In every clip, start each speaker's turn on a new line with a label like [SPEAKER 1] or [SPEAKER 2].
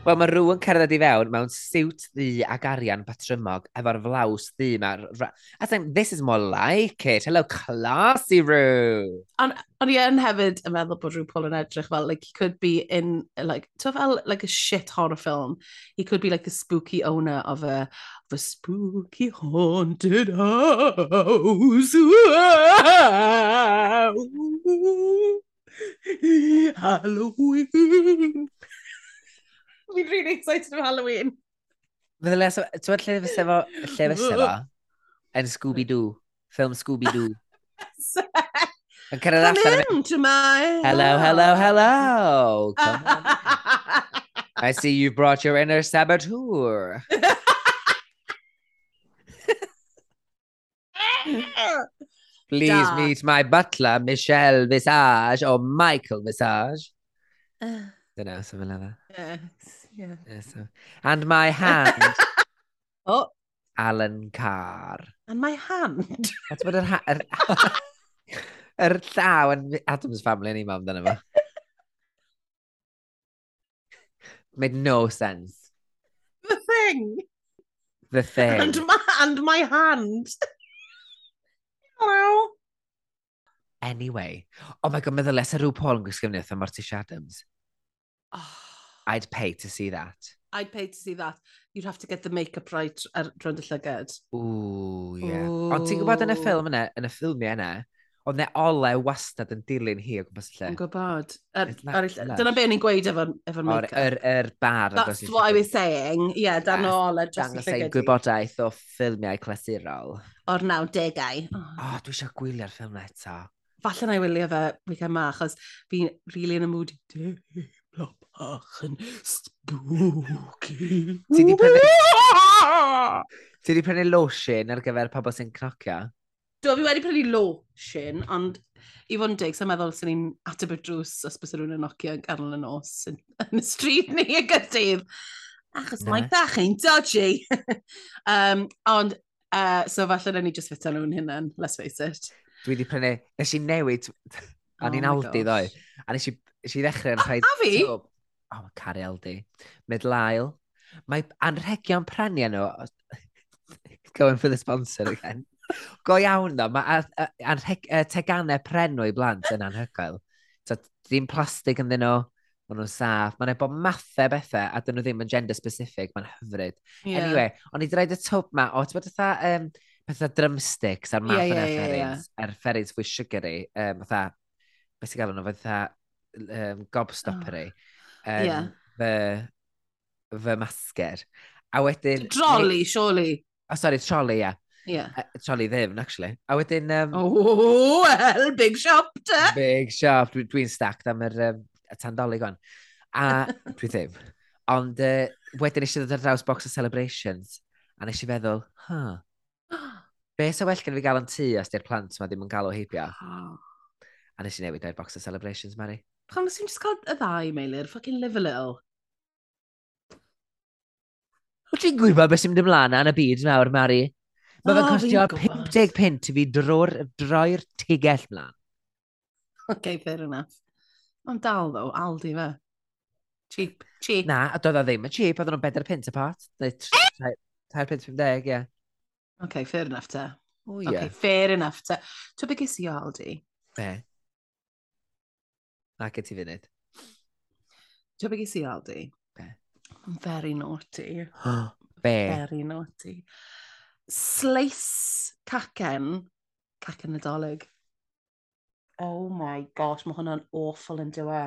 [SPEAKER 1] Wel, mae rhywun cerdded i fewn mewn siwt ddu ac arian patrymog efo'r flaws ddu ma'r... ra- I think, this is more like it. Hello, classy Rue.
[SPEAKER 2] Ond i yn hefyd yn meddwl bod RuPaul yn edrych fel, like, he could be in, like, to fel, like, a shit horror film. He could be, like, the spooky owner of a, of a spooky haunted house. Halloween. Fi'n really excited am Halloween.
[SPEAKER 1] Fydde le, ti'n lle fysa fo, lle fysa fo, yn Scooby-Doo, film Scooby-Doo. Yn cerdded
[SPEAKER 2] Come
[SPEAKER 1] allan yn
[SPEAKER 2] into my
[SPEAKER 1] Hello, hello, hello. Come on.
[SPEAKER 2] hello.
[SPEAKER 1] I see you've brought your inner saboteur. Please
[SPEAKER 2] Da.
[SPEAKER 1] meet my butler, Michelle Visage, or Michael Visage. Dyna, something like that.
[SPEAKER 2] Yes, yeah.
[SPEAKER 1] Yeah, so. And my hand,
[SPEAKER 2] Oh,
[SPEAKER 1] Alan Carr.
[SPEAKER 2] and my hand.
[SPEAKER 1] That's what yr... ha- yr- Yr llaw yn Adam's family ni, mam, dyna fo. Made no sense.
[SPEAKER 2] The thing.
[SPEAKER 1] The thing.
[SPEAKER 2] And my, and my hand. Hello.
[SPEAKER 1] Anyway. Oh my god, meddwl lesa rhyw Paul yn gwisgo fyny wrth Mortish Adams. I'd pay to see that.
[SPEAKER 2] Oh, I'd pay to see that. You'd have to get the makeup right ar drwy'n y llygad.
[SPEAKER 1] Ooh, yeah. Ond ti'n gwybod yn y
[SPEAKER 2] Ooh.
[SPEAKER 1] ffilm yna, yn y ffilmiau yna, oedd ne ole wastad yn dilyn hi o gwmpas y
[SPEAKER 2] Yn
[SPEAKER 1] lle.
[SPEAKER 2] gwybod. Yr-
[SPEAKER 1] It's like
[SPEAKER 2] ar ei-
[SPEAKER 1] lush.
[SPEAKER 2] Dyna be o'n i'n gweud efo'r efo
[SPEAKER 1] O'r
[SPEAKER 2] make-up.
[SPEAKER 1] yr, yr bar. yn
[SPEAKER 2] That's
[SPEAKER 1] dod i
[SPEAKER 2] what I
[SPEAKER 1] llygad.
[SPEAKER 2] was saying. Ie, yeah, dan
[SPEAKER 1] Yes,
[SPEAKER 2] ôl y
[SPEAKER 1] Dangos
[SPEAKER 2] drwy'n
[SPEAKER 1] ei
[SPEAKER 2] llygad.
[SPEAKER 1] gwybodaeth o ffilmiau clasurol.
[SPEAKER 2] O'r 90au. Oh.
[SPEAKER 1] O, dwi eisiau gwylio'r ffilm na eto.
[SPEAKER 2] falle na i wylio fe weekend ma, achos fi'n really yn y mood i deimlo bach yn spooky.
[SPEAKER 1] Ti 'di
[SPEAKER 2] prynu...
[SPEAKER 1] Ti wedi prynu lotion ar gyfer pobl sy'n cnocio?
[SPEAKER 2] Do, fi wedi prynu lotion, ond i fod yn dig, sa'n meddwl sy'n ni'n ateb y drws os bys rhywun yn nocio yn ganol y nos yn, yn y stryd ni y gydydd. Achos
[SPEAKER 1] Na.
[SPEAKER 2] mae bach ein dodgy. um, ond, uh, so falle na ni just fit ar nhw'n hunan, let's face it.
[SPEAKER 1] Dwi wedi prynu... Nes i newid...
[SPEAKER 2] Oh
[SPEAKER 1] O'n i'n
[SPEAKER 2] my
[SPEAKER 1] aldi ddoe.
[SPEAKER 2] gosh.
[SPEAKER 1] A nes i, nes i ddechrau yn rhaid...
[SPEAKER 2] a fi?
[SPEAKER 1] O, oh, cari aldi. Midlail. Mae anrhegion prania nhw... Going for the sponsor again. Go iawn ddo. Mae a- a- anrheg- yy, teganau prenw i blant yn anhygoel. So, ddim plastig yn nhw. Mae nhw'n saff. Mae nhw'n bod mathau bethau a dyn nhw ddim yn gender specific. Mae'n hyfryd.
[SPEAKER 2] Yeah.
[SPEAKER 1] Anyway, o'n i wedi rhaid y twb ma, o, ti'n bod ytha, um, pethau drumsticks a'r
[SPEAKER 2] Ie,
[SPEAKER 1] math
[SPEAKER 2] ie,
[SPEAKER 1] yna
[SPEAKER 2] ie, ie.
[SPEAKER 1] fferins, a'r fferins fwy sugary, um, ytha, beth sy'n gael nhw, fatha um, gobstoppery, um,
[SPEAKER 2] Ie.
[SPEAKER 1] fy, fy masger. A wedyn...
[SPEAKER 2] Drolly, surely.
[SPEAKER 1] O, sori, troli, ia.
[SPEAKER 2] Yeah.
[SPEAKER 1] Yeah. Troli ddim, actually. A wedyn... Um,
[SPEAKER 2] Oh, well, big shop te.
[SPEAKER 1] Big shop. Dwi'n dwi stacked am yr um, y tandolig o'n. A dwi ddim. Ond uh, wedyn eisiau ddod ar draws box o celebrations. A nes i feddwl, huh, be sa well gen i fi gael yn tŷ os di'r plant ma ddim yn galw heibio?
[SPEAKER 2] Pam
[SPEAKER 1] A nes i newid o'r box o celebrations, Mari.
[SPEAKER 2] nes i'n just cael y ddau, Meilir? Fucking live a little.
[SPEAKER 1] Wyt ti'n gwybod beth sy'n mynd ymlaen yn y byd nawr, Mari? Mae fe'n
[SPEAKER 2] O,
[SPEAKER 1] costio
[SPEAKER 2] fi'n gwbod.
[SPEAKER 1] 50 pint i fi drwy'r droi'r tigell mlaen.
[SPEAKER 2] OK, fair enough. Ond dal, ddo, Aldi fe. Cheap, cheap.
[SPEAKER 1] Na, a doedd o ddim yn cheap, oedden nhw'n 4 pint y pot. Neu 3 pint 50, ie.
[SPEAKER 2] OK, fair enough te.
[SPEAKER 1] O,
[SPEAKER 2] OK,
[SPEAKER 1] ie.
[SPEAKER 2] fair enough te. To be ges i o Aldi?
[SPEAKER 1] Be? Na, gyd ti funud.
[SPEAKER 2] To be ges i o Aldi?
[SPEAKER 1] Be?
[SPEAKER 2] Very naughty.
[SPEAKER 1] Be?
[SPEAKER 2] Very naughty. Slice cacen. Cacen nadolig. Oh my gosh, mae hwnna'n awful yn e. dywe.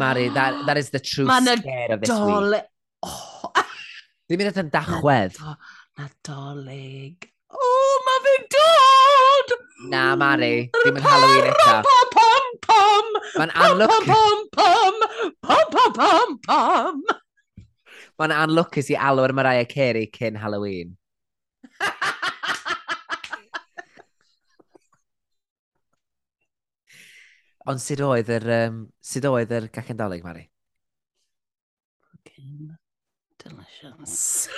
[SPEAKER 1] Mari, that, that is the true
[SPEAKER 2] Ma' 'na
[SPEAKER 1] scare of this week.
[SPEAKER 2] Dole... Oh,
[SPEAKER 1] Ddim yn edrych yn dachwedd.
[SPEAKER 2] do- nadolig. Oh, mae fe'n dod!
[SPEAKER 1] Na, Mari, ddim yn Halloween eto.
[SPEAKER 2] Pom, pom, pom,
[SPEAKER 1] Mae'n
[SPEAKER 2] pom, pom,
[SPEAKER 1] anlwc-
[SPEAKER 2] pom, pom, pom, pom, pom, pom.
[SPEAKER 1] mae'n anlwcus i alw ar Mariah Carey cyn Halloween. Ond sut oedd yr, um, sut oedd yr gacendolig, Mari?
[SPEAKER 2] Fucking delicious.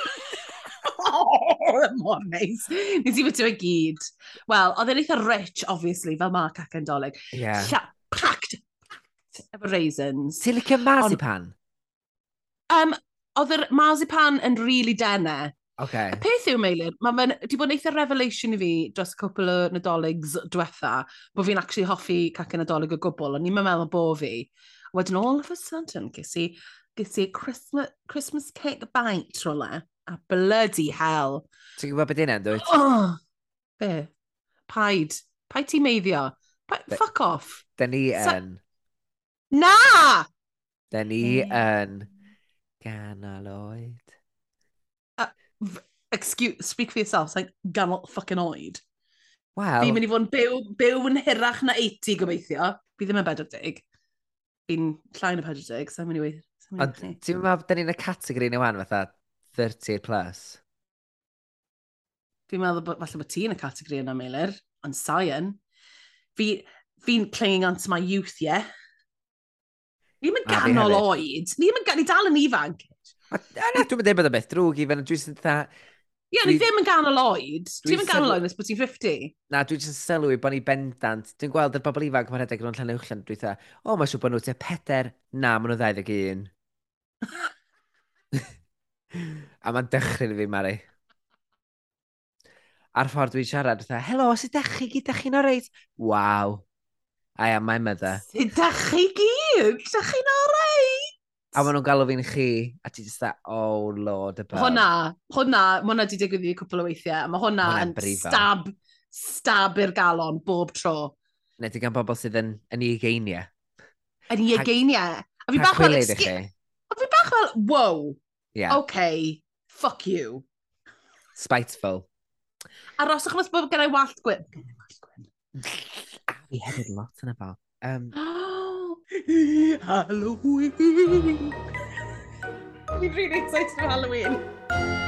[SPEAKER 2] oh, mor neis. Nes i fyty fe gyd. Wel, oedd e'n eitha rich, obviously, fel mae cacen doleg.
[SPEAKER 1] Ie. Yeah.
[SPEAKER 2] Lla, packed, packed, efo raisins.
[SPEAKER 1] Ti'n licio marzipan?
[SPEAKER 2] Um, oedd yr marzipan yn really denne.
[SPEAKER 1] Okay.
[SPEAKER 2] Y peth yw, Meilir, mae fe'n wedi bod yn eitha revelation i fi dros y cwpl o nadolig diwetha, bod fi'n actually hoffi cac yn nadolig o gwbl, ond ni'n meddwl bod fi. Wedyn all of a sudden, ges i, ges i Christmas, Christmas cake bite rola, a bloody hell.
[SPEAKER 1] Ti'n gwybod beth yna, dwi?
[SPEAKER 2] Oh, be? Paid. Paid ti meiddio. Paid,
[SPEAKER 1] Be-
[SPEAKER 2] fuck off.
[SPEAKER 1] Da ni
[SPEAKER 2] Sa-
[SPEAKER 1] yn...
[SPEAKER 2] Na!
[SPEAKER 1] Da ni
[SPEAKER 2] Ie.
[SPEAKER 1] yn... Ganol oed.
[SPEAKER 2] Excuse, speak for yourself, sa'n ganol fucking oed. Fi'n
[SPEAKER 1] Wel,
[SPEAKER 2] mynd i fod yn byw, byw yn hirach na 80 gobeithio. Fi ddim yn 40. Fi'n llai na 40, sa'n mynd i weid. sa'n mynd i
[SPEAKER 1] Ond
[SPEAKER 2] wneud hynny.
[SPEAKER 1] ti'n meddwl da ni'n y categori ni wan fatha 30 plus?
[SPEAKER 2] Fi'n meddwl bod, falle bod ti yn y categori yna, Meilir, ond sa'n. Fi, fi'n clinging on to my youth, yeah? Ni'n mynd
[SPEAKER 1] A fi
[SPEAKER 2] ganol
[SPEAKER 1] hefyd.
[SPEAKER 2] oed. Ni'n mynd ganol, ni dal yn ifanc.
[SPEAKER 1] A- a Na, dwi'n meddwl bod o'n beth drwg i fan, dwi'n sy'n dda...
[SPEAKER 2] Ie, ni
[SPEAKER 1] Dwi-
[SPEAKER 2] ddim yn ganol oed.
[SPEAKER 1] Dwi
[SPEAKER 2] Ti ddim yn
[SPEAKER 1] sylw-
[SPEAKER 2] ganol oed nes bod ti'n 50.
[SPEAKER 1] Na, dwi'n sy'n sylwi bod ni bendant. Dwi'n gweld y bobl ifanc mae'n edrych yn llan uwchlan, dwi'n dda, o, mae'n siŵr bod nhw te peder, na, maen nhw 21. a mae'n dychryn i fi, Mari. A'r ffordd dwi'n siarad, dwi'n helo, sut dach chi gyd, dach chi'n o reit? Waw. I am my mother.
[SPEAKER 2] Sut dach chi gyd? Dach chi'n orau?
[SPEAKER 1] A maen nhw'n galw fi'n chi, a ti just that, oh lord above.
[SPEAKER 2] Hwna, hwna, mae hwnna wedi digwydd i fi cwpl o weithiau. Mae hwnna
[SPEAKER 1] Hwnna'n
[SPEAKER 2] yn
[SPEAKER 1] brifo.
[SPEAKER 2] stab, stab i'r galon bob tro.
[SPEAKER 1] Neu di gan bobl sydd yn, yn ei geiniau.
[SPEAKER 2] Yn i
[SPEAKER 1] Pa-
[SPEAKER 2] egeiniau. A fi
[SPEAKER 1] Pa
[SPEAKER 2] bach fel,
[SPEAKER 1] cwilydd i chi?
[SPEAKER 2] "Excu- a fi bach fel, wow,
[SPEAKER 1] Yeah, oh.
[SPEAKER 2] okay, fuck you.
[SPEAKER 1] spiteful.
[SPEAKER 2] Aroswch mas bod gen i wallt gwyn. Gen i wallt gwyn.
[SPEAKER 1] Fi hefyd lot yn y bal. Um,
[SPEAKER 2] Halloween. Fi'n really excited for Halloween.